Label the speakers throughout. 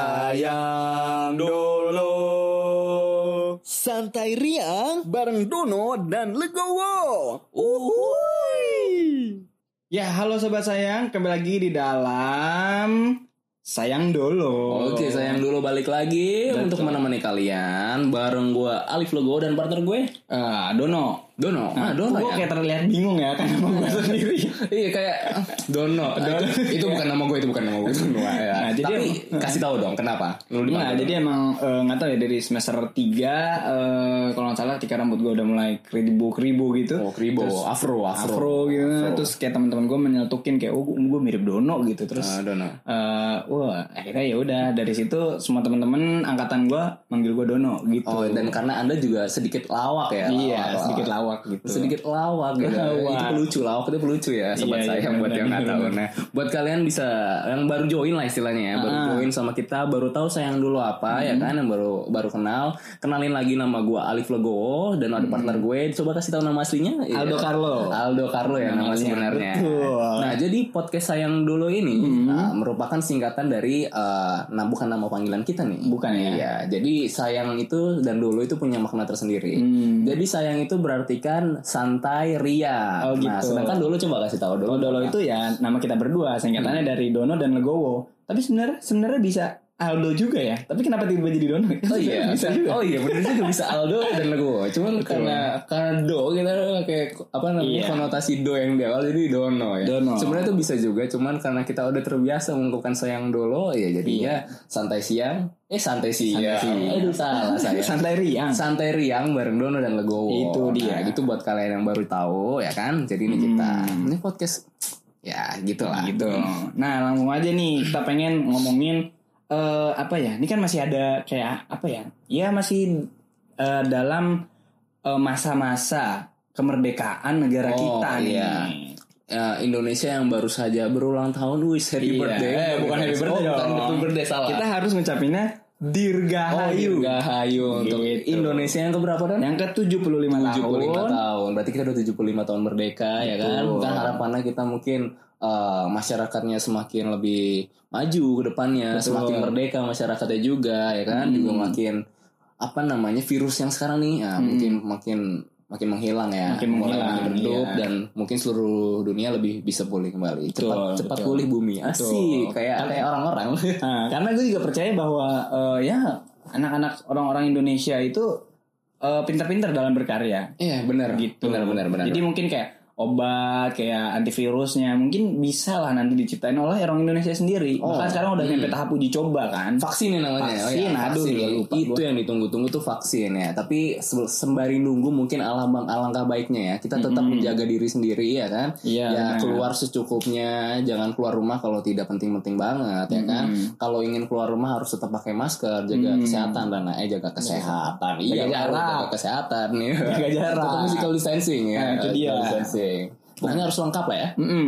Speaker 1: Sayang dulu
Speaker 2: Santai riang
Speaker 1: Bareng Dono dan Legowo Uhuy Ya halo sobat sayang Kembali lagi di dalam Sayang dulu
Speaker 3: Oke, sayang dulu balik lagi untuk menemani kalian bareng gue Alif Logo dan partner gue
Speaker 1: Ah, Dono
Speaker 3: Dono. Ah, Dono
Speaker 1: Gue
Speaker 3: ya.
Speaker 1: kayak terlihat bingung ya Karena nama gue sendiri
Speaker 3: Iya kayak
Speaker 1: Dono,
Speaker 3: Ah,
Speaker 1: Dono.
Speaker 3: itu, itu bukan nama gue, itu bukan nama gue. Itu nama, ya.
Speaker 1: Nah, jadi
Speaker 3: Tapi
Speaker 1: emang-
Speaker 3: kasih tahu dong kenapa. Lu
Speaker 1: Nah,
Speaker 3: dipanggil Dono.
Speaker 1: jadi emang eh, nggak tahu ya dari semester 3 kalau nggak salah ketika rambut gue udah mulai keribu-keribu gitu.
Speaker 3: Oh, kribo,
Speaker 1: Terus
Speaker 3: afro, afro,
Speaker 1: afro gitu terus kayak teman-teman gue menyetukin kayak oh gue mirip Dono gitu
Speaker 3: Ah,
Speaker 1: terus
Speaker 3: Dono.
Speaker 1: eh, wah akhirnya ya udah dari situ semua teman-teman angkatan gue manggil gue Dono gitu
Speaker 3: Oh, dan karena anda juga sedikit lawak ya.
Speaker 1: iya
Speaker 3: lawak,
Speaker 1: sedikit lawak gitu
Speaker 3: sedikit lawak gitu.
Speaker 1: Lawak.
Speaker 3: Itu pelucu lawak itu pelucu ya
Speaker 1: Iya,
Speaker 3: sobat
Speaker 1: iya,
Speaker 3: saya buat
Speaker 1: benar,
Speaker 3: yang nggak
Speaker 1: benar,
Speaker 3: tahu.
Speaker 1: benar.
Speaker 3: Nah, buat kalian bisa yang baru join lah istilahnya ya, baru
Speaker 1: Ah. Hmm.
Speaker 3: join sama kita, baru tahu sayang dulu apa ya kan, yang baru baru kenal, kenalin lagi nama gua Alif Legowo dan ada partner gue, coba kasih tahu nama aslinya. Iya.
Speaker 1: Hmm. Aldo Carlo.
Speaker 3: Aldo Carlo ya nama
Speaker 1: Namanya,
Speaker 3: sebenarnya.
Speaker 1: betul. Hmm.
Speaker 3: Nah, jadi podcast sayang dulu ini uh, merupakan singkatan dari uh, nah bukan nama panggilan kita nih.
Speaker 1: Bukan ya?
Speaker 3: Iya, jadi sayang itu dan dulu itu punya makna tersendiri.
Speaker 1: Hmm.
Speaker 3: Jadi sayang itu berarti kan santai ria.
Speaker 1: Oh,
Speaker 3: Nah,
Speaker 1: gitu.
Speaker 3: sedangkan dulu coba kasih tahu dulu.
Speaker 1: Kalau Dolo itu ya nama kita berdua singkatannya
Speaker 3: Hmm.
Speaker 1: dari Dono dan Legowo tapi sebenarnya sebenarnya bisa Aldo juga ya tapi kenapa tiba-tiba jadi Dono
Speaker 3: Oh iya,
Speaker 1: bisa juga
Speaker 3: oh iya benar juga bisa Aldo dan Legowo. Cuman karena karena do kita kayak apa namanya
Speaker 1: Iya.
Speaker 3: konotasi do yang di awal jadi dono ya.
Speaker 1: Dono.
Speaker 3: Sebenarnya tuh bisa juga, cuman karena kita udah terbiasa mengungkapkan sayang dolo ya jadi ya santai siang. Eh santai siang.
Speaker 1: Iya. siang.
Speaker 3: Aduh salah saya.
Speaker 1: santai riang
Speaker 3: santai riang bareng Dono dan Legowo.
Speaker 1: Itu dia.
Speaker 3: Nah, gitu buat kalian yang baru tahu ya kan. Jadi ini kita ini podcast ya gitulah.
Speaker 1: Hmm. gitu. Nah langsung aja nih kita pengen ngomongin eh apa ya? Ini kan masih ada kayak apa ya? Ya masih eh, dalam eh, masa-masa kemerdekaan negara
Speaker 3: Oh,
Speaker 1: kita
Speaker 3: iya.
Speaker 1: nih.
Speaker 3: Ya, Indonesia yang baru saja berulang tahun, wih happy
Speaker 1: Iya.
Speaker 3: birthday.
Speaker 1: Eh, bukan happy
Speaker 3: Oh,
Speaker 1: birthday
Speaker 3: bukan
Speaker 1: dong.
Speaker 3: happy birthday salah.
Speaker 1: Kita harus ngucapinnya Dirgahayu.
Speaker 3: Oh, Dirgahayu untuk
Speaker 1: Gitu.
Speaker 3: Indonesia yang keberapa dan?
Speaker 1: yang ke-75
Speaker 3: 75
Speaker 1: tahun.
Speaker 3: tahun. Berarti kita udah 75 tahun merdeka ya kan.
Speaker 1: Betul.
Speaker 3: Kan harapannya kita mungkin eh, masyarakatnya semakin lebih maju ke depannya,
Speaker 1: Betul. Hmm.
Speaker 3: semakin merdeka masyarakatnya juga ya kan. Juga makin apa namanya virus yang sekarang nih ya, mungkin makin makin menghilang ya.
Speaker 1: Hmm. Makin
Speaker 3: Mulai
Speaker 1: menghilang,
Speaker 3: makin redup
Speaker 1: iya.
Speaker 3: dan mungkin seluruh dunia lebih bisa pulih kembali. Cepat
Speaker 1: Betul,
Speaker 3: cepat
Speaker 1: betul.
Speaker 3: pulih bumi. Asik
Speaker 1: Betul.
Speaker 3: kayak kayak orang-orang.
Speaker 1: Nah, karena gue juga percaya bahwa eh, ya anak-anak orang-orang Indonesia itu eh, pintar-pintar dalam berkarya.
Speaker 3: Iya, benar.
Speaker 1: gitu.
Speaker 3: Benar benar benar.
Speaker 1: Jadi mungkin kayak obat kayak antivirusnya mungkin bisa lah nanti diciptain oleh orang Indonesia sendiri.
Speaker 3: Oh.
Speaker 1: Bahkan sekarang udah nyampe tahap uji coba kan.
Speaker 3: vaksin ya namanya
Speaker 1: Vaksin,
Speaker 3: ya,
Speaker 1: aduh,
Speaker 3: vaksin.
Speaker 1: gila, lupa
Speaker 3: itu yang ditunggu-tunggu tuh vaksin ya tapi se- sembari nunggu mungkin alambang alangkah baiknya ya kita tetap menjaga diri sendiri ya kan
Speaker 1: Mm-hmm. Iya,
Speaker 3: ya
Speaker 1: benar.
Speaker 3: keluar secukupnya jangan keluar rumah kalau tidak penting-penting banget ya kan
Speaker 1: Mm-hmm.
Speaker 3: kalau ingin keluar rumah harus tetap pakai masker jaga kesehatan dan eh jaga kesehatan iya
Speaker 1: jarak.
Speaker 3: harus jaga kesehatan ya
Speaker 1: Jaga jarak.
Speaker 3: tetap physical distancing ya
Speaker 1: Nah, itu dia.
Speaker 3: physical distancing pokoknya harus lengkap lah ya
Speaker 1: Mm-mm.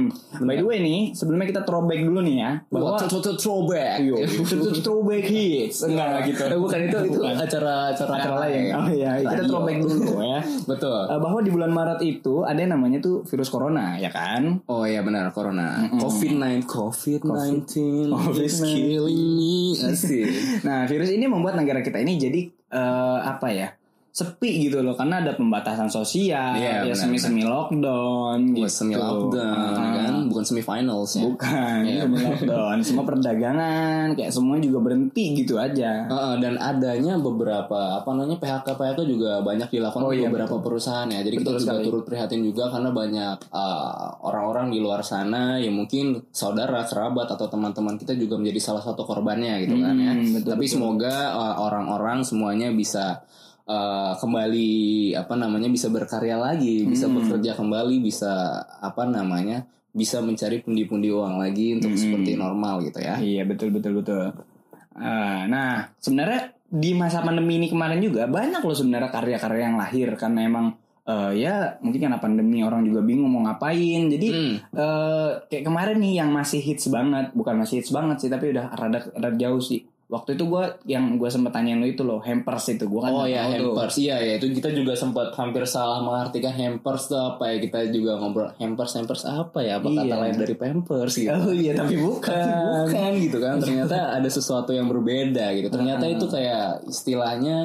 Speaker 1: By the way nih, sebelumnya kita throwback dulu nih ya. Bahwa Iya,
Speaker 3: Wah, tuh- tuh- throwback.
Speaker 1: Yo, itu throwback hits. Enggak lah gitu.
Speaker 3: Eh, bukan itu itu acara acara
Speaker 1: Acara lain. Oh iya, kita
Speaker 3: Radio.
Speaker 1: throwback dulu ya.
Speaker 3: Betul.
Speaker 1: Eh, Bahwa di bulan Maret itu ada yang namanya tuh virus corona, ya kan?
Speaker 3: Oh iya benar corona. Covid-19 Covid-19
Speaker 1: Covid
Speaker 3: is killing me. Asik.
Speaker 1: Nah, virus ini membuat negara kita ini jadi eh, apa ya? sepi gitu loh karena ada pembatasan sosial,
Speaker 3: Iya,
Speaker 1: ya
Speaker 3: benar,
Speaker 1: semi-semi lockdown
Speaker 3: Buat
Speaker 1: gitu. Ah,
Speaker 3: semi lockdown ya kan, bukan semifinals ya.
Speaker 1: Bukan, ini semi lockdown, semua perdagangan kayak semua juga berhenti gitu aja.
Speaker 3: Heeh, dan adanya beberapa apa namanya PHK PHK juga banyak dilakukan
Speaker 1: Oh, iya,
Speaker 3: oleh beberapa perusahaan ya. Jadi
Speaker 1: Betul
Speaker 3: kita juga
Speaker 1: sekali.
Speaker 3: turut prihatin juga karena banyak eh, orang-orang di luar sana yang mungkin saudara, kerabat atau teman-teman kita juga menjadi salah satu korbannya gitu kan ya.
Speaker 1: Hmm, betul,
Speaker 3: Tapi semoga eh, orang-orang semuanya bisa eh, kembali apa namanya bisa berkarya lagi, bisa
Speaker 1: Hmm.
Speaker 3: bekerja kembali, bisa apa namanya bisa mencari pundi-pundi uang lagi
Speaker 1: Hmm.
Speaker 3: untuk seperti normal gitu ya.
Speaker 1: Iya, betul betul betul. Eh, nah, sebenarnya di masa pandemi ini kemarin juga banyak loh sebenarnya karya-karya yang lahir karena emang eh, ya mungkin karena pandemi orang juga bingung mau ngapain. Jadi
Speaker 3: Hmm.
Speaker 1: eh kayak kemarin nih yang masih hits banget, bukan masih hits banget sih, tapi udah rada rada jauh sih. Waktu itu gue yang gue sempet tanyain lu itu loh hampers itu gue kan
Speaker 3: oh
Speaker 1: nggak
Speaker 3: ya
Speaker 1: tahu tuh.
Speaker 3: hampers iya ya itu kita juga sempat hampir salah mengartikan hampers tuh apa ya kita juga ngobrol hampers hampers apa ya apa kata
Speaker 1: Iya.
Speaker 3: lain dari pampers gitu
Speaker 1: Oh iya tapi bukan.
Speaker 3: Tapi bukan gitu kan ternyata ada sesuatu yang berbeda gitu ternyata
Speaker 1: Heeh.
Speaker 3: itu kayak istilahnya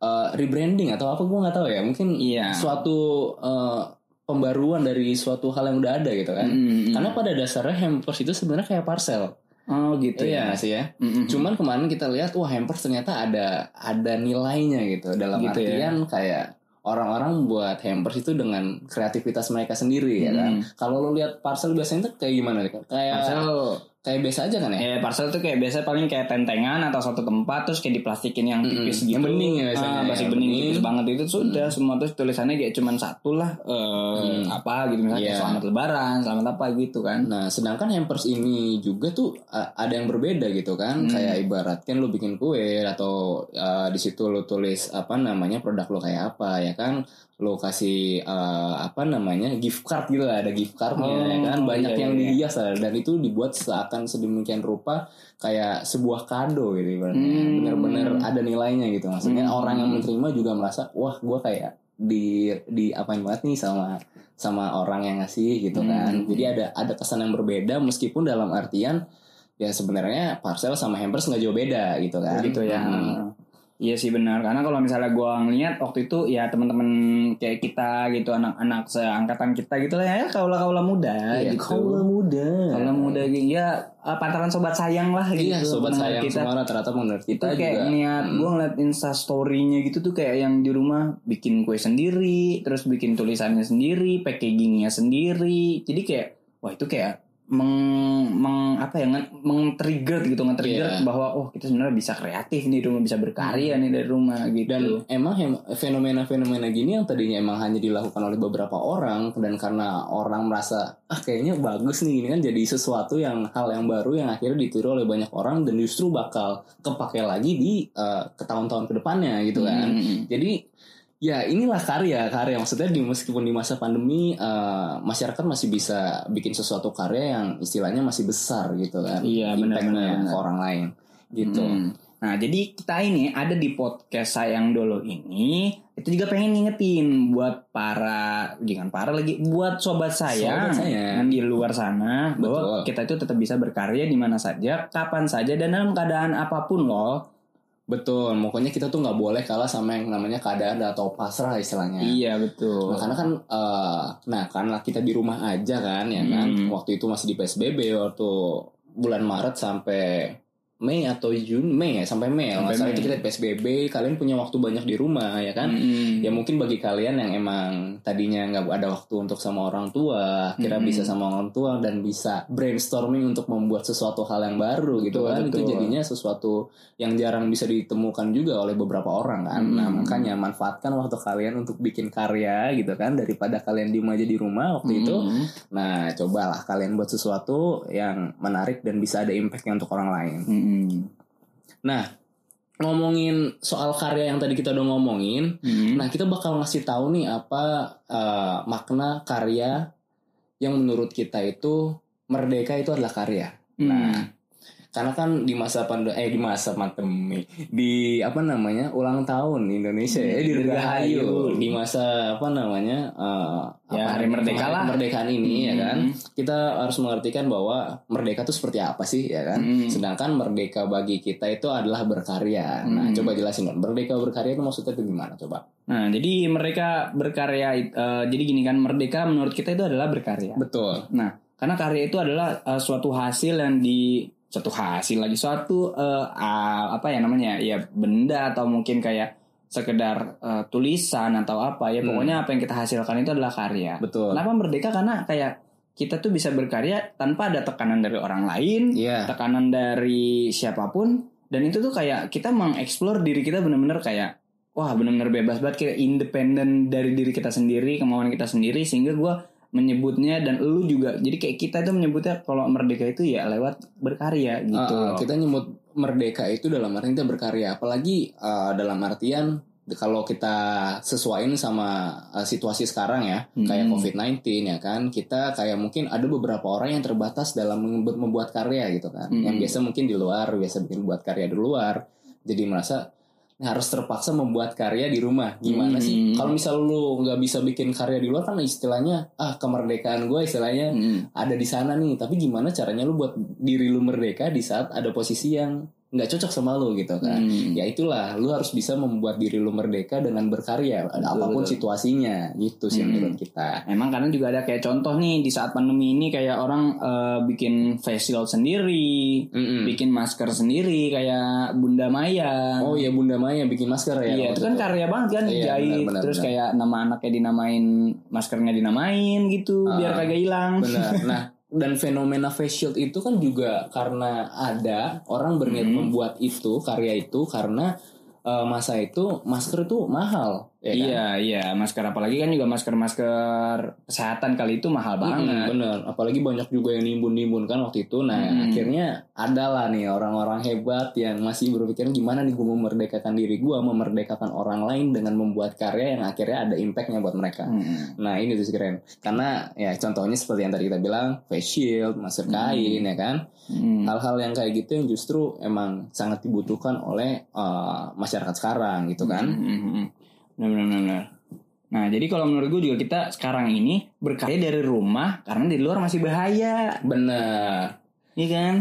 Speaker 3: eh, rebranding atau apa gue nggak tahu ya mungkin
Speaker 1: Iya.
Speaker 3: suatu eh, pembaruan dari suatu hal yang udah ada gitu kan
Speaker 1: Mm-mm.
Speaker 3: karena pada dasarnya hampers itu sebenarnya kayak parcel
Speaker 1: oh gitu ya.
Speaker 3: iya nggak sih ya
Speaker 1: Mm-mm.
Speaker 3: cuman kemarin kita lihat wah hampers ternyata ada ada nilainya gitu dalam
Speaker 1: Gitu ya.
Speaker 3: artian kayak orang-orang buat hampers itu dengan kreativitas mereka sendiri ya kan
Speaker 1: Mm-mm.
Speaker 3: kalau lo lihat parcel biasanya tuh kayak gimana kayak
Speaker 1: Hmm. Parcel
Speaker 3: kayak biasa aja kan
Speaker 1: Eh
Speaker 3: ya
Speaker 1: parcel tuh kayak biasa paling kayak tentengan atau satu tempat terus kayak diplastikin yang
Speaker 3: Mm-mm.
Speaker 1: tipis gitu.
Speaker 3: Yang bening ya biasanya,
Speaker 1: Ah, masih
Speaker 3: yang
Speaker 1: bening,
Speaker 3: bening.
Speaker 1: tipis banget itu sudah semua terus tulisannya kayak cuman satu lah eh,
Speaker 3: Hmm.
Speaker 1: apa gitu misalnya kayak
Speaker 3: Iya.
Speaker 1: selamat lebaran, selamat apa gitu kan.
Speaker 3: Nah, sedangkan hampers ini juga tuh a- ada yang berbeda gitu
Speaker 1: Hmm.
Speaker 3: kan. Kayak ibaratkan lu bikin kue atau uh, di situ lu tulis apa namanya produk lu kayak apa ya kan. Lu kasih uh, apa namanya gift card gitu lah, ada gift cardnya ya kan.
Speaker 1: Oh,
Speaker 3: Banyak
Speaker 1: iya,
Speaker 3: yang
Speaker 1: iya.
Speaker 3: dihias lah dan itu dibuat seakan sedemikian rupa kayak sebuah kado gitu ibaratnya.
Speaker 1: Hmm.
Speaker 3: Bener-bener ada nilainya gitu. Maksudnya
Speaker 1: Hmm.
Speaker 3: orang yang menerima juga merasa wah gua kayak di di apain banget nih sama sama orang yang ngasih gitu kan.
Speaker 1: Hmm.
Speaker 3: Jadi ada ada kesan yang berbeda meskipun dalam artian ya sebenarnya parcel sama hampers nggak jauh beda gitu kan.
Speaker 1: Begitu ya.
Speaker 3: Hmm.
Speaker 1: Iya sih benar karena kalau misalnya gua ngeliat waktu itu ya teman-teman kayak kita gitu anak-anak seangkatan kita gitu lah ya kaula-kaula muda
Speaker 3: Iya,
Speaker 1: gitu.
Speaker 3: kaula muda.
Speaker 1: Kaula muda gitu ya eh, pantaran sobat sayang lah gitu.
Speaker 3: Iya, sobat
Speaker 1: Nah,
Speaker 3: sayang
Speaker 1: kita
Speaker 3: semua rata-rata menurut
Speaker 1: itu
Speaker 3: kita
Speaker 1: kayak
Speaker 3: juga.
Speaker 1: ngeliat
Speaker 3: Hmm.
Speaker 1: gue ngeliat insta story-nya gitu tuh kayak yang di rumah bikin kue sendiri terus bikin tulisannya sendiri packagingnya sendiri jadi kayak wah itu kayak meng, meng- apa ya nge- meng-trigger gitu nge-trigger
Speaker 3: Iya. Hmm.
Speaker 1: bahwa oh kita sebenarnya bisa kreatif nih di rumah bisa berkarya nih dari rumah gitu
Speaker 3: Dan emang hem- fenomena-fenomena gini yang tadinya emang hanya dilakukan oleh beberapa orang dan karena orang merasa ah kayaknya bagus nih ini kan jadi sesuatu yang hal yang baru yang akhirnya ditiru oleh banyak orang dan justru bakal kepake lagi di eh, ke tahun-tahun
Speaker 1: Hmm,
Speaker 3: kedepannya gitu kan.
Speaker 1: Mm-mm.
Speaker 3: Jadi ya inilah karya karya maksudnya di meskipun di masa pandemi eh, masyarakat masih bisa bikin sesuatu karya yang istilahnya masih besar gitu kan.
Speaker 1: Iya, benar,
Speaker 3: Impact-nya
Speaker 1: benar, benar.
Speaker 3: ke orang lain gitu.
Speaker 1: Mm. Nah, jadi kita ini ada di podcast sayang dolo ini itu juga pengen ngingetin buat para jangan para lagi buat sobat sayang,
Speaker 3: Sobat sayang.
Speaker 1: yang di luar sana bahwa
Speaker 3: Betul.
Speaker 1: kita itu tetap bisa berkarya di mana saja, kapan saja dan dalam keadaan apapun loh.
Speaker 3: Betul, pokoknya kita tuh nggak boleh kalah sama yang namanya keadaan atau pasrah istilahnya.
Speaker 1: Iya, betul.
Speaker 3: Nah, karena kan, eh, nah karena kita di rumah aja kan, ya kan.
Speaker 1: Hmm.
Speaker 3: Waktu itu masih di PSBB, waktu bulan Maret sampai Mei atau Juni, Mei ya, sampai Mei.
Speaker 1: Sampai
Speaker 3: Sampai Mei.
Speaker 1: Mei.
Speaker 3: itu kita di PSBB, kalian punya waktu banyak di rumah, ya kan.
Speaker 1: Mm-mm.
Speaker 3: Ya mungkin bagi kalian yang emang tadinya nggak ada waktu untuk sama orang tua, kira
Speaker 1: Hmm.
Speaker 3: bisa sama orang tua dan bisa brainstorming untuk membuat sesuatu hal yang baru gitu
Speaker 1: Betul,
Speaker 3: kan
Speaker 1: betul.
Speaker 3: itu jadinya sesuatu yang jarang bisa ditemukan juga oleh beberapa orang kan. Nah
Speaker 1: Hmm.
Speaker 3: makanya manfaatkan waktu kalian untuk bikin karya gitu kan daripada kalian diem aja di rumah waktu itu.
Speaker 1: Mm-mm.
Speaker 3: Nah cobalah kalian buat sesuatu yang menarik dan bisa ada impactnya untuk orang lain
Speaker 1: Mm-mm.
Speaker 3: ngomongin soal karya yang tadi kita udah ngomongin.
Speaker 1: Mm-mm.
Speaker 3: Nah, kita bakal ngasih tahu nih apa eh, makna karya yang menurut kita itu merdeka itu adalah karya.
Speaker 1: Mm.
Speaker 3: Nah, karena kan di masa pandemi eh di masa pandemi di apa namanya ulang tahun Indonesia ya di
Speaker 1: Dirgahayu.
Speaker 3: Dirgahayu di masa apa namanya eh,
Speaker 1: Ya,
Speaker 3: apa,
Speaker 1: hari merdeka lah. Hmm.
Speaker 3: kemerdekaan ini ya kan
Speaker 1: Mm-mm.
Speaker 3: kita harus mengartikan bahwa merdeka itu seperti apa sih ya kan
Speaker 1: Mm.
Speaker 3: sedangkan merdeka bagi kita itu adalah berkarya nah
Speaker 1: Mm.
Speaker 3: coba jelasin dong merdeka berkarya itu maksudnya itu gimana coba
Speaker 1: Nah, jadi mereka berkarya it- eh, jadi gini kan merdeka menurut kita itu adalah berkarya.
Speaker 3: betul
Speaker 1: Karena karya itu adalah uh, suatu hasil yang di suatu hasil lagi suatu uh, uh, apa ya namanya ya benda atau mungkin kayak sekedar uh, tulisan atau apa ya
Speaker 3: Hmm.
Speaker 1: pokoknya apa yang kita hasilkan itu adalah karya.
Speaker 3: betul
Speaker 1: Kenapa merdeka? Karena kayak kita tuh bisa berkarya tanpa ada tekanan dari orang lain,
Speaker 3: iya
Speaker 1: tekanan dari siapapun dan itu tuh kayak kita mengeksplor diri kita bener-bener kayak wah bener-bener bebas banget kita independen dari diri kita sendiri kemauan kita sendiri sehingga gua menyebutnya dan lu juga jadi kayak kita tuh menyebutnya kalau merdeka itu ya lewat berkarya gitu
Speaker 3: Uh, uh,
Speaker 1: loh.
Speaker 3: kita nyebut merdeka itu eh, dalam artian kita berkarya apalagi uh, dalam artian kalau kita sesuaiin sama eh, situasi sekarang ya kayak
Speaker 1: Hmm.
Speaker 3: COVID-19 ya kan kita kayak mungkin ada beberapa orang yang terbatas dalam membu- membuat karya gitu kan
Speaker 1: Hmm.
Speaker 3: yang biasa mungkin di luar biasa bikin buat karya di luar jadi merasa harus terpaksa membuat karya di rumah
Speaker 1: Hmm.
Speaker 3: gimana sih kalau misal lu nggak bisa bikin karya di luar kan istilahnya ah kemerdekaan gue istilahnya
Speaker 1: Mm.
Speaker 3: ada di sana nih tapi gimana caranya lu buat diri lu merdeka di saat ada posisi yang nggak cocok sama lu gitu kan
Speaker 1: Hmm.
Speaker 3: ya itulah lu harus bisa membuat diri lu merdeka dengan berkarya ada
Speaker 1: Betul,
Speaker 3: apapun
Speaker 1: betul.
Speaker 3: situasinya gitu sih
Speaker 1: Hmm.
Speaker 3: menurut kita
Speaker 1: Emang karena juga ada kayak contoh nih di saat pandemi ini kayak orang eh, bikin face shield sendiri,
Speaker 3: Mm-mm.
Speaker 1: bikin masker sendiri kayak Bunda Maya.
Speaker 3: Hmm. oh ya bunda Maya bikin masker ya
Speaker 1: Iya, itu
Speaker 3: waktu
Speaker 1: kan karya banget kan
Speaker 3: Iya,
Speaker 1: dijahit
Speaker 3: benar, benar,
Speaker 1: terus
Speaker 3: benar.
Speaker 1: kayak nama anaknya dinamain, maskernya dinamain gitu
Speaker 3: Ah.
Speaker 1: biar kagak hilang.
Speaker 3: benar nah dan fenomena face shield itu kan juga karena ada orang berniat
Speaker 1: Hmm.
Speaker 3: membuat itu karya itu karena eh, masa itu masker itu mahal ya kan?
Speaker 1: Iya, iya, masker apalagi kan juga masker-masker kesehatan kali itu mahal
Speaker 3: Mm-mm,
Speaker 1: banget.
Speaker 3: bener, apalagi banyak juga yang nimbun-nimbun kan waktu itu. Nah,
Speaker 1: Mm-mm.
Speaker 3: akhirnya adalah nih orang-orang hebat yang masih berpikir gimana nih gue memerdekakan diri gue, memerdekakan orang lain dengan membuat karya yang akhirnya ada impactnya buat mereka.
Speaker 1: Mm.
Speaker 3: Nah, ini tuh keren. Karena ya contohnya seperti yang tadi kita bilang, face shield, masker
Speaker 1: Mm.
Speaker 3: kain, ya kan.
Speaker 1: Mm.
Speaker 3: Hal-hal yang kayak gitu yang justru emang sangat dibutuhkan oleh eh, masyarakat sekarang gitu kan.
Speaker 1: Mm, mm, mm. Benar, benar, benar, benar. Nah, jadi kalau menurut gue juga kita sekarang ini berkarya dari rumah karena di luar masih bahaya,
Speaker 3: Bener.
Speaker 1: iya kan?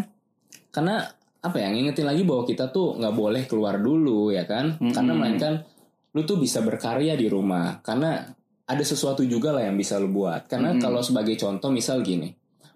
Speaker 3: karena apa ya ngingetin lagi bahwa kita tuh nggak boleh keluar dulu ya kan
Speaker 1: Mm-mm.
Speaker 3: karena melainkan lu tuh bisa berkarya di rumah karena ada sesuatu juga lah yang bisa lu buat karena
Speaker 1: Mm-mm.
Speaker 3: kalau sebagai contoh misal gini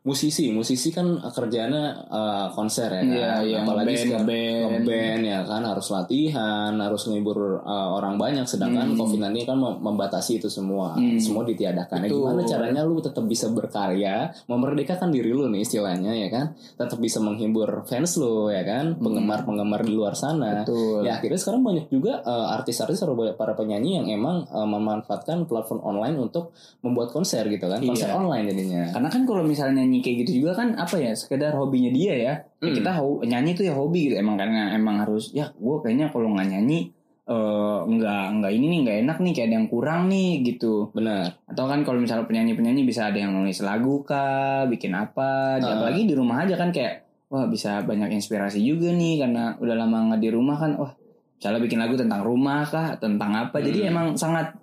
Speaker 3: musisi musisi kan kerjanya eh, konser ya kan
Speaker 1: Iya, Nah,
Speaker 3: apalagi sekarang- ngeband ya kan harus latihan harus ngibur uh, orang banyak
Speaker 1: Hmm.
Speaker 3: sedangkan covid 19 kan mem- membatasi itu semua
Speaker 1: Hmm.
Speaker 3: semua ditiadakan Ya,
Speaker 1: Betul.
Speaker 3: gimana caranya lu tetap bisa berkarya memerdekakan diri lu nih istilahnya ya kan tetap bisa menghibur fans lu ya kan penggemar penggemar di luar sana
Speaker 1: Hmm. Betul.
Speaker 3: Ya akhirnya sekarang banyak juga uh, artis-artis atau banyak para penyanyi yang emang uh, memanfaatkan platform online untuk membuat konser gitu kan konser
Speaker 1: Iya.
Speaker 3: online jadinya.
Speaker 1: Karena kan kalau misalnya nyanyi kayak gitu juga kan apa ya sekedar hobinya dia ya. Ya,
Speaker 3: Mm.
Speaker 1: kita ho- nyanyi tuh ya hobi gitu emang karena emang harus ya gue kayaknya kalau nggak nyanyi eh, nggak nggak ini nih nggak enak nih kayak ada yang kurang nih gitu.
Speaker 3: Benar.
Speaker 1: Atau kan kalau misalnya penyanyi-penyanyi bisa ada yang nulis lagu kah, bikin apa,
Speaker 3: Ah.
Speaker 1: apalagi di rumah aja kan kayak wah bisa banyak inspirasi juga nih karena udah lama nggak di rumah kan wah misalnya bikin lagu tentang rumah kah, tentang apa. Jadi
Speaker 3: Hmm.
Speaker 1: emang sangat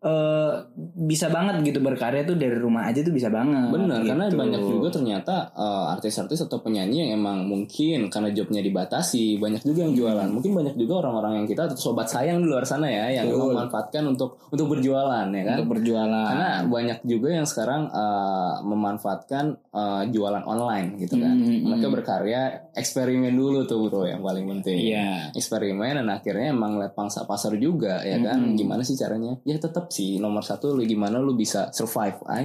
Speaker 1: eh, bisa banget gitu berkarya tuh dari rumah aja tuh bisa banget.
Speaker 3: Benar, karena
Speaker 1: gitu.
Speaker 3: banyak juga ternyata eh, artis-artis atau penyanyi yang emang mungkin karena jobnya dibatasi, banyak juga yang jualan. Mungkin banyak juga orang-orang yang kita atau sobat sayang di luar sana ya yang
Speaker 1: Betul.
Speaker 3: memanfaatkan untuk untuk berjualan ya kan.
Speaker 1: untuk berjualan.
Speaker 3: Karena banyak juga yang sekarang eh, memanfaatkan eh, jualan online gitu kan.
Speaker 1: Hmm,
Speaker 3: Mereka
Speaker 1: hmm.
Speaker 3: berkarya eksperimen dulu tuh bro yang paling penting.
Speaker 1: Iya.
Speaker 3: eksperimen dan akhirnya emang lihat pangsa pasar juga ya kan
Speaker 1: Mm-mm.
Speaker 3: gimana sih caranya ya tetap sih nomor satu lu gimana lu bisa survive
Speaker 1: Ya.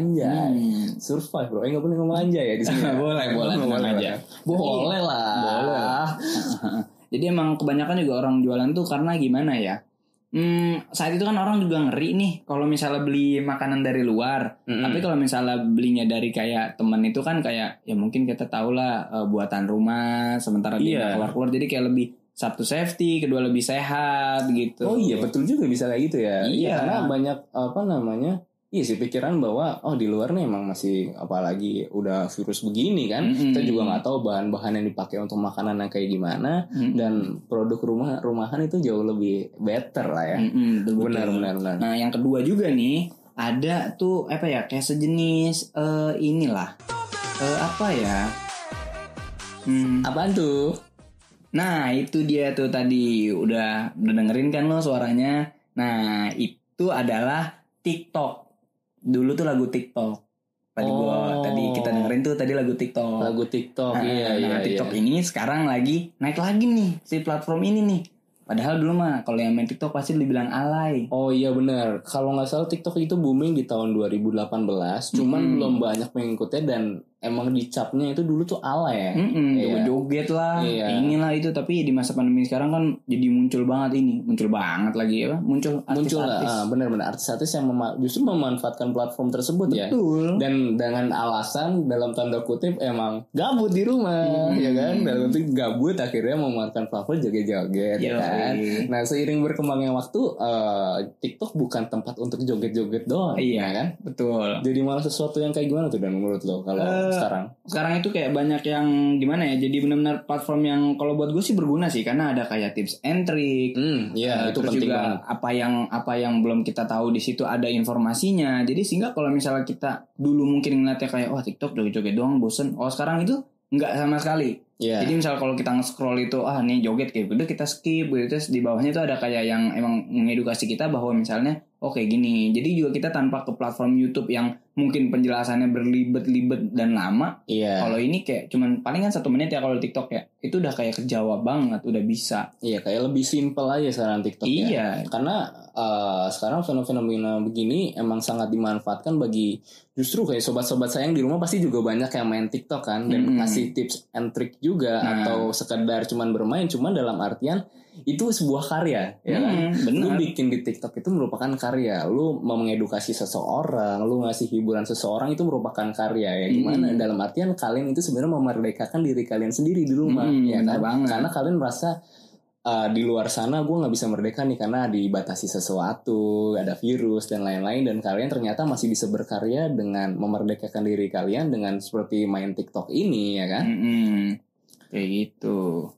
Speaker 3: anjay survive bro eh nggak Iya. boleh ngomong aja ya di sini
Speaker 1: Boleh, boleh, tenang aja.
Speaker 3: boleh lah
Speaker 1: Boleh. Jadi emang kebanyakan juga orang jualan tuh karena gimana ya? Hmm, saat itu kan orang juga ngeri nih kalau misalnya beli makanan dari luar.
Speaker 3: Mm-mm.
Speaker 1: Tapi kalau misalnya belinya dari kayak temen itu kan kayak ya mungkin kita tahu lah eh, buatan rumah sementara dia
Speaker 3: Iya.
Speaker 1: nggak keluar-keluar jadi kayak lebih satu safety, kedua lebih sehat gitu.
Speaker 3: oh iya betul juga bisa kayak gitu ya
Speaker 1: Iya.
Speaker 3: karena banyak apa namanya iya sih pikiran bahwa oh di luar nih emang masih apalagi udah virus begini kan
Speaker 1: Mm-mm.
Speaker 3: kita juga nggak tahu bahan-bahan yang dipakai untuk makanan yang kayak gimana
Speaker 1: Mm-mm.
Speaker 3: dan produk rumah rumahan itu jauh lebih better lah ya
Speaker 1: Mm-mm, betul-betul.
Speaker 3: benar benar benar
Speaker 1: Nah, yang kedua juga nih ada tuh apa ya kayak sejenis eh, inilah Eh, apa ya? Hmm,
Speaker 3: apaan tuh
Speaker 1: Nah itu dia tuh tadi udah udah dengerin kan lo suaranya. Nah itu adalah TikTok. Dulu tuh lagu TikTok. Tadi gua
Speaker 3: Oh.
Speaker 1: tadi kita dengerin tuh tadi lagu TikTok.
Speaker 3: lagu TikTok
Speaker 1: Nah,
Speaker 3: iya
Speaker 1: nah,
Speaker 3: iya
Speaker 1: TikTok
Speaker 3: iya.
Speaker 1: ini sekarang lagi naik lagi nih si platform ini nih. Padahal dulu mah kalau yang main TikTok pasti dibilang alay.
Speaker 3: Oh iya benar. Kalau nggak salah TikTok itu booming di tahun 2018, cuman
Speaker 1: Mm-mm.
Speaker 3: belum banyak mengikutnya dan emang dicapnya itu dulu tuh ala ya.
Speaker 1: Mm-mm,
Speaker 3: Iya.
Speaker 1: joget lah,
Speaker 3: Iya.
Speaker 1: inilah itu. Tapi di masa pandemi sekarang kan jadi muncul banget ini, muncul banget lagi apa? Muncul
Speaker 3: Muncul lah,
Speaker 1: artis-artis.
Speaker 3: ah, benar-benar artis-artis yang mema- justru memanfaatkan platform tersebut ya.
Speaker 1: Betul.
Speaker 3: Dan dengan alasan dalam tanda kutip emang gabut di rumah,
Speaker 1: Hmm.
Speaker 3: ya kan? Dalam itu gabut akhirnya memanfaatkan platform joget-joget, ya
Speaker 1: Yoi.
Speaker 3: kan? Nah seiring berkembangnya waktu, eh, TikTok bukan tempat untuk joget-joget doang,
Speaker 1: Iya.
Speaker 3: ya kan?
Speaker 1: Betul.
Speaker 3: Jadi malah sesuatu yang kayak gimana tuh dan menurut lo kalau
Speaker 1: Eh,
Speaker 3: sekarang?
Speaker 1: Sekarang itu kayak banyak yang gimana ya? Jadi benar-benar platform yang kalau buat gue sih berguna sih karena ada kayak tips and trick,
Speaker 3: Hmm, iya
Speaker 1: Nah,
Speaker 3: itu
Speaker 1: terus
Speaker 3: penting
Speaker 1: juga
Speaker 3: banget.
Speaker 1: apa yang apa yang belum kita tahu di situ ada informasinya. Jadi sehingga kalau misalnya kita dulu mungkin ngeliatnya kayak wah TikTok joget-joget doang bosen. Oh sekarang itu nggak sama sekali.
Speaker 3: Iya.
Speaker 1: Jadi misalnya kalau kita nge-scroll itu ah nih joget kayak gitu kita skip gitu terus di bawahnya itu ada kayak yang emang mengedukasi kita bahwa misalnya oke gini. Jadi juga kita tanpa ke platform YouTube yang mungkin penjelasannya berlibet-libet dan lama.
Speaker 3: Iya.
Speaker 1: Kalau ini kayak cuman palingan satu menit ya kalau TikTok ya. Itu udah kayak kejawab banget, udah bisa.
Speaker 3: Iya, kayak lebih simpel aja sekarang TikTok ya.
Speaker 1: Iya,
Speaker 3: Karena eh, sekarang fenomena begini emang sangat dimanfaatkan bagi justru kayak sobat-sobat saya yang di rumah pasti juga banyak yang main TikTok kan dan
Speaker 1: Mm-mm.
Speaker 3: kasih tips and trick juga
Speaker 1: Nah.
Speaker 3: atau sekedar cuman bermain cuman dalam artian itu sebuah karya ya kan.
Speaker 1: Hmm,
Speaker 3: Lu
Speaker 1: benar.
Speaker 3: bikin di TikTok itu merupakan karya. Lu mau mengedukasi seseorang, lu ngasih hiburan seseorang itu merupakan karya ya. Gimana
Speaker 1: Mm.
Speaker 3: dalam artian kalian itu sebenarnya memerdekakan diri kalian sendiri di rumah
Speaker 1: Mm,
Speaker 3: ya
Speaker 1: bener
Speaker 3: kan?
Speaker 1: banget.
Speaker 3: Karena kalian merasa "Ah, di luar sana gue nggak bisa merdeka nih karena dibatasi sesuatu, ada virus dan lain-lain dan kalian ternyata masih bisa berkarya dengan memerdekakan diri kalian dengan seperti main TikTok ini ya kan?
Speaker 1: Mm-mm. Hmm, Kayak gitu.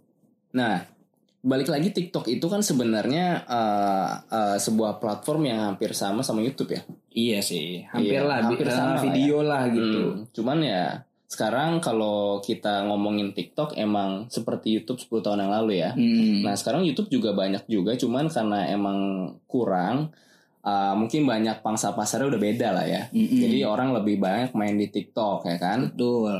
Speaker 3: Nah, balik lagi TikTok itu kan sebenarnya eh, eh, sebuah platform yang hampir sama sama YouTube ya.
Speaker 1: Iya sih, hampir
Speaker 3: Iya,
Speaker 1: lah,
Speaker 3: hampir
Speaker 1: eh,
Speaker 3: sama lah
Speaker 1: video lah gitu.
Speaker 3: Hmm, Cuman ya sekarang kalau kita ngomongin TikTok emang seperti YouTube 10 tahun yang lalu ya.
Speaker 1: Mm.
Speaker 3: Nah, sekarang YouTube juga banyak juga cuman karena emang kurang eh, mungkin banyak pangsa pasarnya udah beda lah ya.
Speaker 1: Mm-mm.
Speaker 3: Jadi orang lebih banyak main di TikTok ya
Speaker 1: Hmm.
Speaker 3: kan.
Speaker 1: betul.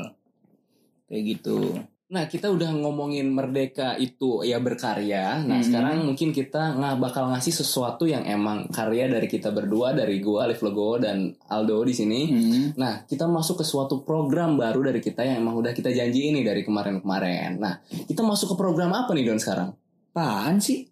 Speaker 1: Kayak gitu.
Speaker 3: Nah, kita udah ngomongin merdeka itu ya berkarya. Nah,
Speaker 1: Mhm.
Speaker 3: sekarang mungkin kita nggak bakal ngasih sesuatu yang emang karya dari kita berdua, dari gua, Alif Legowo dan Aldo di sini.
Speaker 1: Mm.
Speaker 3: Nah, kita masuk ke suatu program baru dari kita yang emang udah kita janji ini dari kemarin-kemarin. Nah, kita masuk ke program apa nih Don sekarang?
Speaker 1: Apaan sih?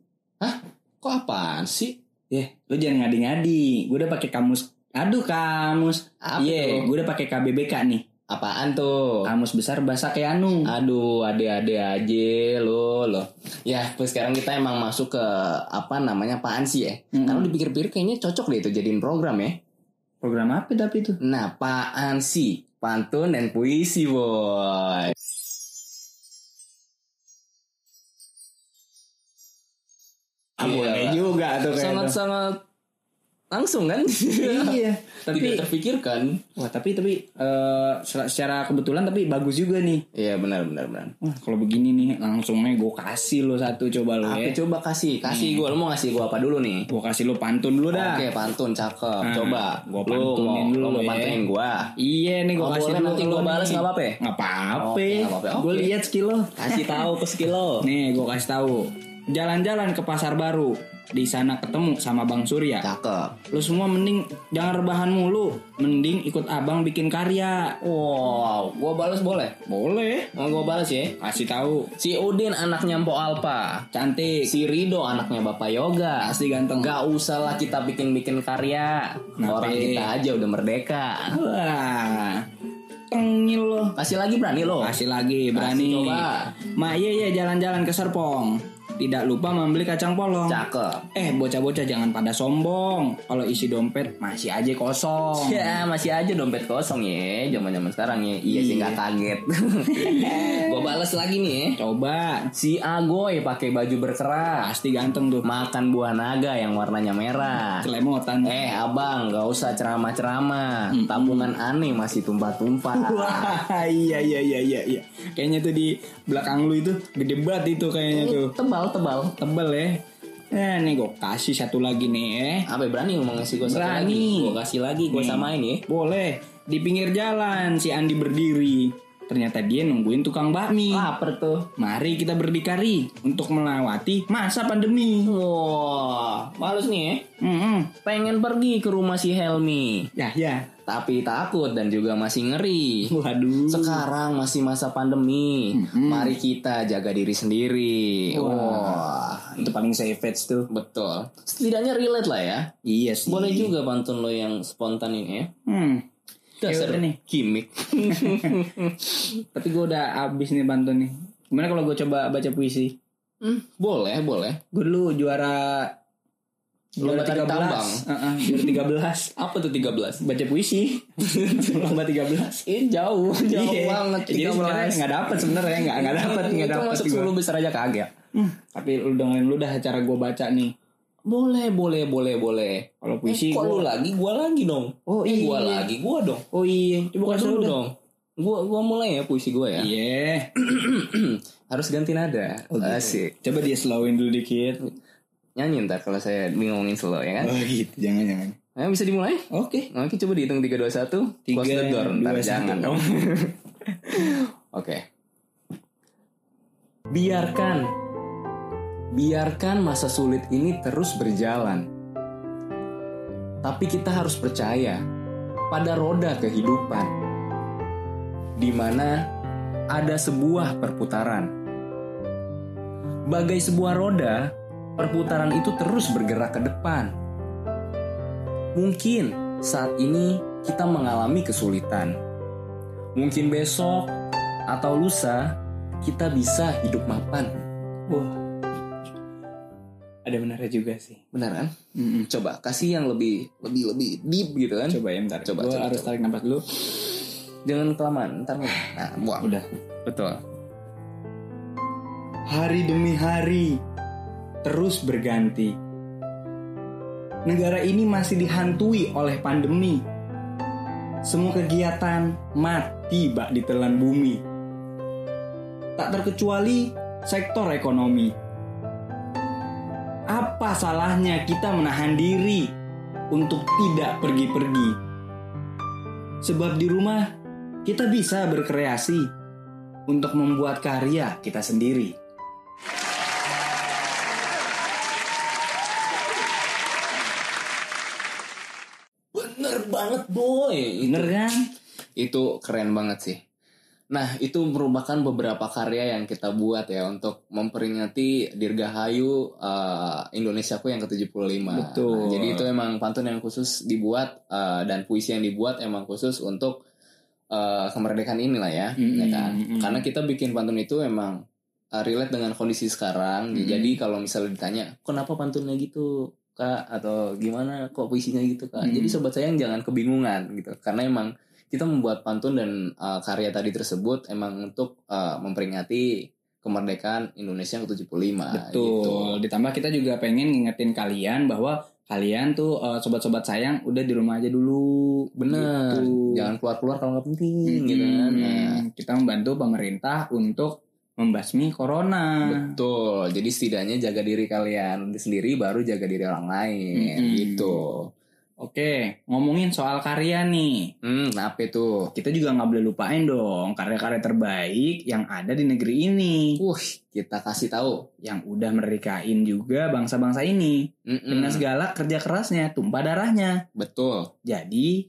Speaker 3: Kok apaan sih?
Speaker 1: Ya, lu jangan ngadi-ngadi. Gue udah pakai kamus. Aduh kamus.
Speaker 3: Apa
Speaker 1: Iya,
Speaker 3: tuh?
Speaker 1: gue udah pakai KBBK nih.
Speaker 3: Apaan tuh?
Speaker 1: Kamus besar bahasa anu. Keanu.
Speaker 3: Aduh, ade-ade aja lo lo. Ya, terus sekarang kita emang masuk ke apa namanya apaan sih ya?
Speaker 1: Mm-mm.
Speaker 3: Kalau dipikir-pikir kayaknya cocok deh itu jadiin program ya.
Speaker 1: Program apa tapi itu?
Speaker 3: Nah, apaan sih? Pantun dan puisi, boy.
Speaker 1: Ah,
Speaker 3: Iya.
Speaker 1: boleh juga tuh kayak itu.
Speaker 3: Sangat-sangat langsung kan?
Speaker 1: Iya,
Speaker 3: Tidak
Speaker 1: tapi
Speaker 3: terpikirkan.
Speaker 1: wah tapi tapi eh, secara kebetulan tapi bagus juga nih.
Speaker 3: Iya, benar benar benar.
Speaker 1: Wah, kalau begini nih langsungnya gue kasih lo satu coba lo ya.
Speaker 3: Apa coba kasih? Kasih gua. Lu mau ngasih gua apa dulu nih?
Speaker 1: Gue kasih lo pantun dulu dah.
Speaker 3: Oke, pantun cakep.
Speaker 1: Nah,
Speaker 3: coba.
Speaker 1: gua
Speaker 3: Hmm. lu mau,
Speaker 1: pantunin dulu
Speaker 3: lu mau
Speaker 1: ya.
Speaker 3: pantunin gua.
Speaker 1: Iya nih gue
Speaker 3: Oh,
Speaker 1: kasih
Speaker 3: boleh
Speaker 1: dulu
Speaker 3: nanti
Speaker 1: ke
Speaker 3: gua
Speaker 1: lo
Speaker 3: balas
Speaker 1: nih.
Speaker 3: nggak apa-apa ya?
Speaker 1: Nggak apa-apa.
Speaker 3: Oke, nggak apa-apa,
Speaker 1: Gue
Speaker 3: oke.
Speaker 1: lihat sekilo.
Speaker 3: Kasih tahu ke sekilo.
Speaker 1: Nih gue kasih tahu. Jalan-jalan ke pasar baru. Di sana ketemu sama Bang Surya.
Speaker 3: Cakep.
Speaker 1: Lo semua mending jangan rebahan mulu. Mending ikut abang bikin karya.
Speaker 3: Wow, gua balas boleh?
Speaker 1: Boleh.
Speaker 3: Mau gua balas ya?
Speaker 1: Kasih tahu.
Speaker 3: Si Udin anaknya Mpok Alpa.
Speaker 1: Cantik.
Speaker 3: Si Rido anaknya Bapak Yoga.
Speaker 1: Asli ganteng.
Speaker 3: Gak usahlah kita bikin-bikin karya. Orang kita aja udah merdeka.
Speaker 1: Wah. Tengil lo.
Speaker 3: Kasih lagi berani lo.
Speaker 1: Kasih lagi berani.
Speaker 3: Kasih, coba.
Speaker 1: Mak iya iya jalan-jalan ke Serpong. Tidak lupa membeli kacang polong.
Speaker 3: Cakep.
Speaker 1: Eh bocah-bocah jangan pada sombong. Kalau isi dompet masih aja kosong.
Speaker 3: Ya masih aja dompet kosong ya zaman zaman sekarang ya. Iya sih nggak kaget. Gue balas lagi nih. ya.
Speaker 1: Coba
Speaker 3: Si Agoy pakai baju berkerah.
Speaker 1: pasti ganteng tuh.
Speaker 3: Makan buah naga yang warnanya merah.
Speaker 1: Celemotan.
Speaker 3: Eh abang gak usah ceramah-ceramah Tabungan aneh masih tumpah-tumpah
Speaker 1: Wah iya iya iya iya. iya. Kayaknya tuh di belakang lu itu gede banget itu kayaknya tuh.
Speaker 3: Tebal-tebal
Speaker 1: Tebel ya. Eh nih gue kasih satu lagi nih eh.
Speaker 3: Apa berani ngomong ngasih gue satu
Speaker 1: Berani.
Speaker 3: lagi Gue kasih lagi gue samain ya
Speaker 1: Boleh. Di pinggir jalan si Andi berdiri. Ternyata dia nungguin tukang bakmi.
Speaker 2: Lapar tuh.
Speaker 1: Mari kita berdikari untuk melewati masa pandemi.
Speaker 2: Wah, males nih ya.
Speaker 1: Mm-mm.
Speaker 2: Pengen pergi ke rumah si Helmi.
Speaker 1: Ya, ya.
Speaker 3: Tapi takut dan juga masih ngeri.
Speaker 1: Waduh.
Speaker 3: Sekarang masih masa pandemi. Mari kita jaga diri sendiri. Wah,
Speaker 1: itu paling savage tuh.
Speaker 3: betul. Setidaknya relate lah ya.
Speaker 1: Iya sih.
Speaker 3: Boleh juga pantun lo yang spontan ini ya.
Speaker 1: Hmm.
Speaker 2: Ya,
Speaker 3: Dasar
Speaker 1: Yaudah nih.
Speaker 3: gimmick.
Speaker 1: Tapi gue udah abis nih bantu nih. Gimana kalau gue coba baca puisi?
Speaker 2: Hmm?
Speaker 3: boleh, boleh.
Speaker 1: Gue dulu juara
Speaker 3: Lomba
Speaker 1: 13.
Speaker 3: tari tambang.
Speaker 1: Heeh, juara
Speaker 3: Apa tuh 13?
Speaker 1: 13. Baca puisi. Lomba 13.
Speaker 3: Ini jauh, jauh
Speaker 1: Iya.
Speaker 3: banget.
Speaker 1: Jadi
Speaker 3: 13.
Speaker 1: sebenarnya nggak dapat sebenarnya nggak nggak dapat nggak
Speaker 3: Itu
Speaker 1: dapat.
Speaker 3: masuk
Speaker 1: gua.
Speaker 3: 10 besar aja kaget.
Speaker 1: Hmm, Tapi lu dengerin lu dah cara gue baca nih.
Speaker 3: Boleh, boleh, boleh, boleh.
Speaker 1: Kalau
Speaker 3: Eh,
Speaker 1: puisi
Speaker 3: kok lu
Speaker 1: gua-
Speaker 3: lagi, gua lagi dong.
Speaker 1: Oh
Speaker 3: Eh, gua
Speaker 1: iya.
Speaker 3: lagi, gua dong.
Speaker 1: Oh iya, coba
Speaker 3: Bukan
Speaker 1: kasih
Speaker 3: lu
Speaker 1: lu dong.
Speaker 3: dong. Gua gua mulai ya puisi gua ya.
Speaker 1: Iya. Oh, gitu.
Speaker 3: Harus ganti nada. Asik.
Speaker 1: Coba dia slowin dulu dikit.
Speaker 3: Nyanyi ntar kalau saya ngomongin slow ya kan.
Speaker 1: Oh gitu, jangan jangan.
Speaker 3: Ayo bisa dimulai?
Speaker 1: Oke.
Speaker 3: Oke, coba dihitung 3 2 1. Close the door. Ntar jangan dong. Oke. Biarkan biarkan masa sulit ini terus berjalan. Tapi kita harus percaya pada roda kehidupan. Di mana ada sebuah perputaran. Bagai sebuah roda, perputaran itu terus bergerak ke depan. Mungkin saat ini kita mengalami kesulitan. Mungkin besok atau lusa kita bisa hidup mapan.
Speaker 1: Wah. Ada benarnya juga sih.
Speaker 3: Benar kan?
Speaker 1: Mm-mm.
Speaker 3: Coba kasih yang lebih lebih lebih deep gitu kan.
Speaker 1: Coba ya ntar.
Speaker 3: Coba,
Speaker 1: Gua
Speaker 3: coba,
Speaker 1: harus
Speaker 3: coba.
Speaker 1: tarik nafas dulu.
Speaker 3: Jangan kelamaan, ntar nah, buang.
Speaker 1: Udah.
Speaker 3: Betul.
Speaker 1: Hari demi hari terus berganti. Negara ini masih dihantui oleh pandemi. Semua kegiatan mati bak ditelan bumi. Tak terkecuali sektor ekonomi. Apa salahnya kita menahan diri untuk tidak pergi-pergi? Sebab di rumah kita bisa berkreasi untuk membuat karya kita sendiri.
Speaker 3: Bener banget boy. Bener.
Speaker 1: Bener kan?
Speaker 3: Itu keren banget sih. Nah, itu merupakan beberapa karya yang kita buat ya untuk memperingati Dirgahayu eh, Indonesiaku yang ke-75.
Speaker 1: Betul.
Speaker 3: Nah, jadi itu emang pantun yang khusus dibuat eh, dan puisi yang dibuat emang khusus untuk eh, kemerdekaan inilah ya,
Speaker 1: Mm-mm,
Speaker 3: ya kan?
Speaker 1: mm-mm.
Speaker 3: Karena kita bikin pantun itu emang eh, relate dengan kondisi sekarang.
Speaker 1: Mm-mm.
Speaker 3: Jadi kalau misalnya ditanya, "Kenapa pantunnya gitu?" Kak atau gimana kok puisinya gitu Kak.
Speaker 1: Mm.
Speaker 3: Jadi sobat sayang jangan kebingungan gitu. Karena emang kita membuat pantun dan uh, karya tadi tersebut emang untuk uh, memperingati kemerdekaan Indonesia yang ke-75 gitu.
Speaker 1: Betul. Ditambah kita juga pengen ngingetin kalian bahwa kalian tuh eh, sobat-sobat sayang udah di rumah aja dulu.
Speaker 3: Bener.
Speaker 1: Gitu.
Speaker 3: Jangan keluar-keluar kalau nggak penting
Speaker 1: Mm-mm.
Speaker 3: gitu kan. Nah,
Speaker 1: Kita membantu pemerintah untuk membasmi corona.
Speaker 3: betul. Jadi setidaknya jaga diri kalian sendiri baru jaga diri orang lain
Speaker 1: Mm-mm.
Speaker 3: gitu.
Speaker 1: Oke, ngomongin soal karya nih.
Speaker 3: Hmm, apa tuh?
Speaker 1: Kita juga nggak boleh lupain dong karya-karya terbaik yang ada di negeri ini,
Speaker 3: Wuh, Uh, kita kasih tahu.
Speaker 1: yang udah merdekain juga bangsa-bangsa ini.
Speaker 3: Mm-mm.
Speaker 1: Dengan segala kerja kerasnya, tumpah darahnya.
Speaker 3: Betul.
Speaker 1: Jadi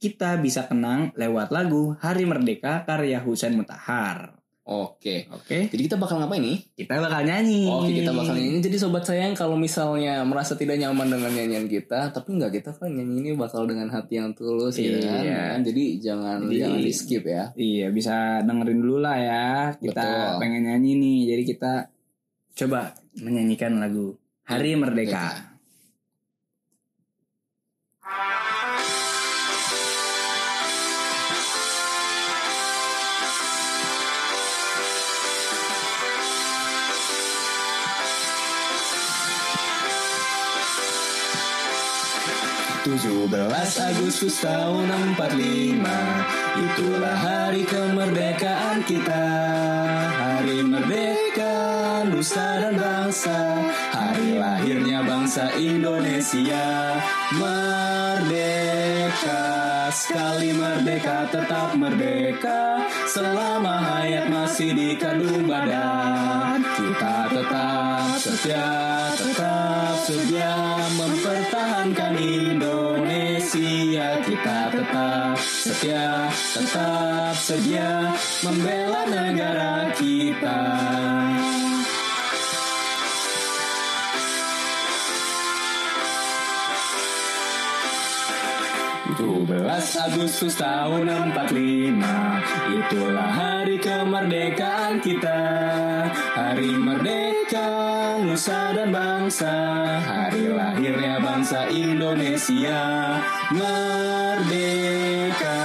Speaker 1: kita bisa kenang lewat lagu Hari Merdeka karya Husain Mutahar.
Speaker 3: Oke.
Speaker 1: Oke,
Speaker 3: Jadi kita bakal ngapain nih? Hmm.
Speaker 1: kita bakal nyanyi.
Speaker 3: Oh, Oke kita bakal nyanyi Jadi sobat sayang kalau misalnya merasa tidak nyaman dengan nyanyian kita Tapi nggak kita kan nyanyi ini bakal dengan hati yang tulus gitu kan
Speaker 1: Iya.
Speaker 3: Nah, Jadi jangan
Speaker 1: Jadi-
Speaker 3: jangan di skip ya
Speaker 1: Iya, bisa dengerin dulu lah ya. Kita
Speaker 3: Betul.
Speaker 1: pengen nyanyi nih. Jadi kita coba menyanyikan lagu Hari Merdeka.
Speaker 3: Tujuh belas Agustus tahun 45 Itulah hari kemerdekaan kita Hari merdeka Nusa dan bangsa Hari lahirnya bangsa Indonesia Merdeka
Speaker 1: Sekali merdeka tetap merdeka Selama hayat masih dikandung badan Kita tetap setia Tetap setia Mempertahankan Indonesia Kita tetap setia Tetap setia Membela negara kita belas Agustus tahun 45 Itulah hari kemerdekaan kita Hari merdeka Nusa dan bangsa Hari lahirnya bangsa Indonesia Merdeka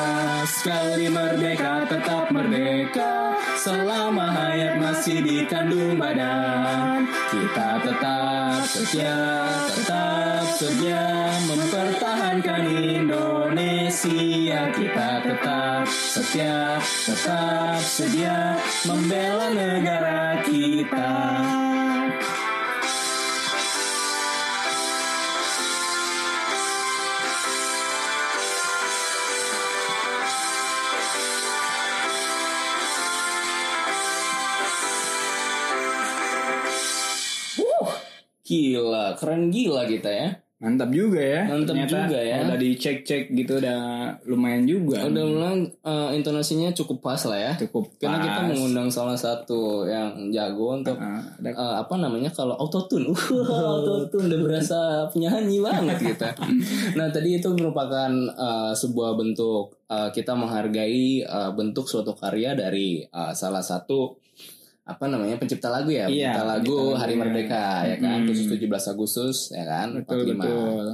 Speaker 1: Sekali merdeka tetap merdeka Selama hayat masih dikandung badan Kita tetap setia Tetap setia Mempertahankan Indonesia Kita tetap setia Tetap setia Membela negara kita
Speaker 3: Uh, Gila, keren gila kita ya.
Speaker 1: Mantap juga ya
Speaker 3: Mantap juga ya.
Speaker 1: Udah dicek-cek gitu Udah lumayan juga
Speaker 3: Udah mulai eh, intonasinya cukup pas lah ya.
Speaker 1: Cukup
Speaker 3: Karena kita
Speaker 1: pas.
Speaker 3: mengundang salah satu yang jago untuk
Speaker 1: Ah, ada-
Speaker 3: eh, apa namanya kalau autotune. Wah, autotune udah berasa penyanyi banget kita. Nah, tadi itu merupakan eh, sebuah bentuk eh, kita menghargai eh, bentuk suatu karya dari eh, salah satu apa namanya pencipta lagu ya,
Speaker 1: Iya,
Speaker 3: pencipta lagu
Speaker 1: pencipta lagu,
Speaker 3: Hari
Speaker 1: iya.
Speaker 3: Merdeka ya kan,
Speaker 1: Mm.
Speaker 3: khusus 17 Agustus ya kan,
Speaker 1: Betul
Speaker 3: 45.
Speaker 1: betul.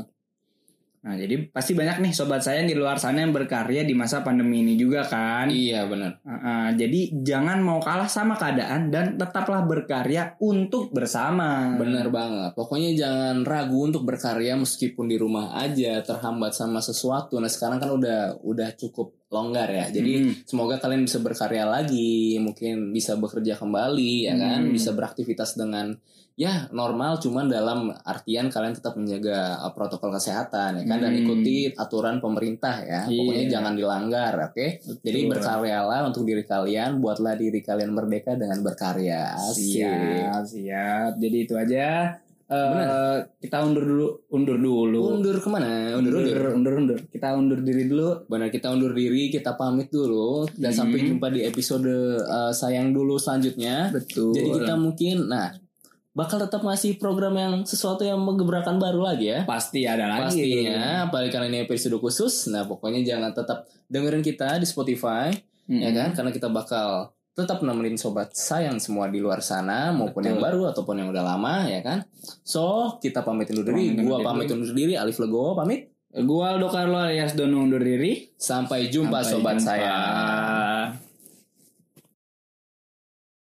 Speaker 1: Nah jadi pasti banyak nih sobat saya yang di luar sana yang berkarya di masa pandemi ini juga kan.
Speaker 3: Iya benar.
Speaker 1: Uh, uh, jadi jangan mau kalah sama keadaan dan tetaplah berkarya untuk bersama.
Speaker 3: Bener banget. Pokoknya jangan ragu untuk berkarya meskipun di rumah aja terhambat sama sesuatu. Nah sekarang kan udah udah cukup longgar ya. Jadi
Speaker 1: Hmm.
Speaker 3: semoga kalian bisa berkarya lagi, mungkin bisa bekerja kembali, ya kan?
Speaker 1: Hmm.
Speaker 3: Bisa beraktivitas dengan ya normal, cuman dalam artian kalian tetap menjaga uh, protokol kesehatan, ya kan? Dan
Speaker 1: Hmm.
Speaker 3: ikuti aturan pemerintah ya. Pokoknya
Speaker 1: Iya.
Speaker 3: jangan dilanggar, oke? Jadi
Speaker 1: Betul.
Speaker 3: berkaryalah untuk diri kalian, buatlah diri kalian merdeka dengan berkarya. Asik.
Speaker 1: Siap siap. Jadi itu aja. Uh,
Speaker 3: Bener.
Speaker 1: kita undur dulu undur dulu. Ya,
Speaker 3: Undur kemana? Undur, undur.
Speaker 1: undur undur undur. Kita undur diri dulu.
Speaker 3: Benar kita undur diri, kita pamit dulu dan
Speaker 1: Hmm.
Speaker 3: sampai jumpa di episode uh, sayang dulu selanjutnya.
Speaker 1: Betul.
Speaker 3: Jadi kita mungkin nah bakal tetap ngasih program yang sesuatu yang menggebrakan baru lagi ya.
Speaker 1: pasti ada lagi.
Speaker 3: Pastinya, apalagi kali ini episode khusus. Nah, pokoknya jangan tetap dengerin kita di Spotify,
Speaker 1: Mm-mm.
Speaker 3: ya kan? Karena kita bakal tetap nemenin sobat sayang semua di luar sana maupun
Speaker 1: Betul.
Speaker 3: yang baru ataupun yang udah lama, ya kan? So, kita pamit undur
Speaker 1: Pamit
Speaker 3: diri.
Speaker 1: undur
Speaker 3: Gua pamit
Speaker 1: diri.
Speaker 3: undur diri, Alif Legowo pamit.
Speaker 1: Gua Aldo Carlo alias Dono undur diri.
Speaker 3: Sampai jumpa
Speaker 1: Sampai
Speaker 3: sobat
Speaker 1: jumpa.
Speaker 3: sayang.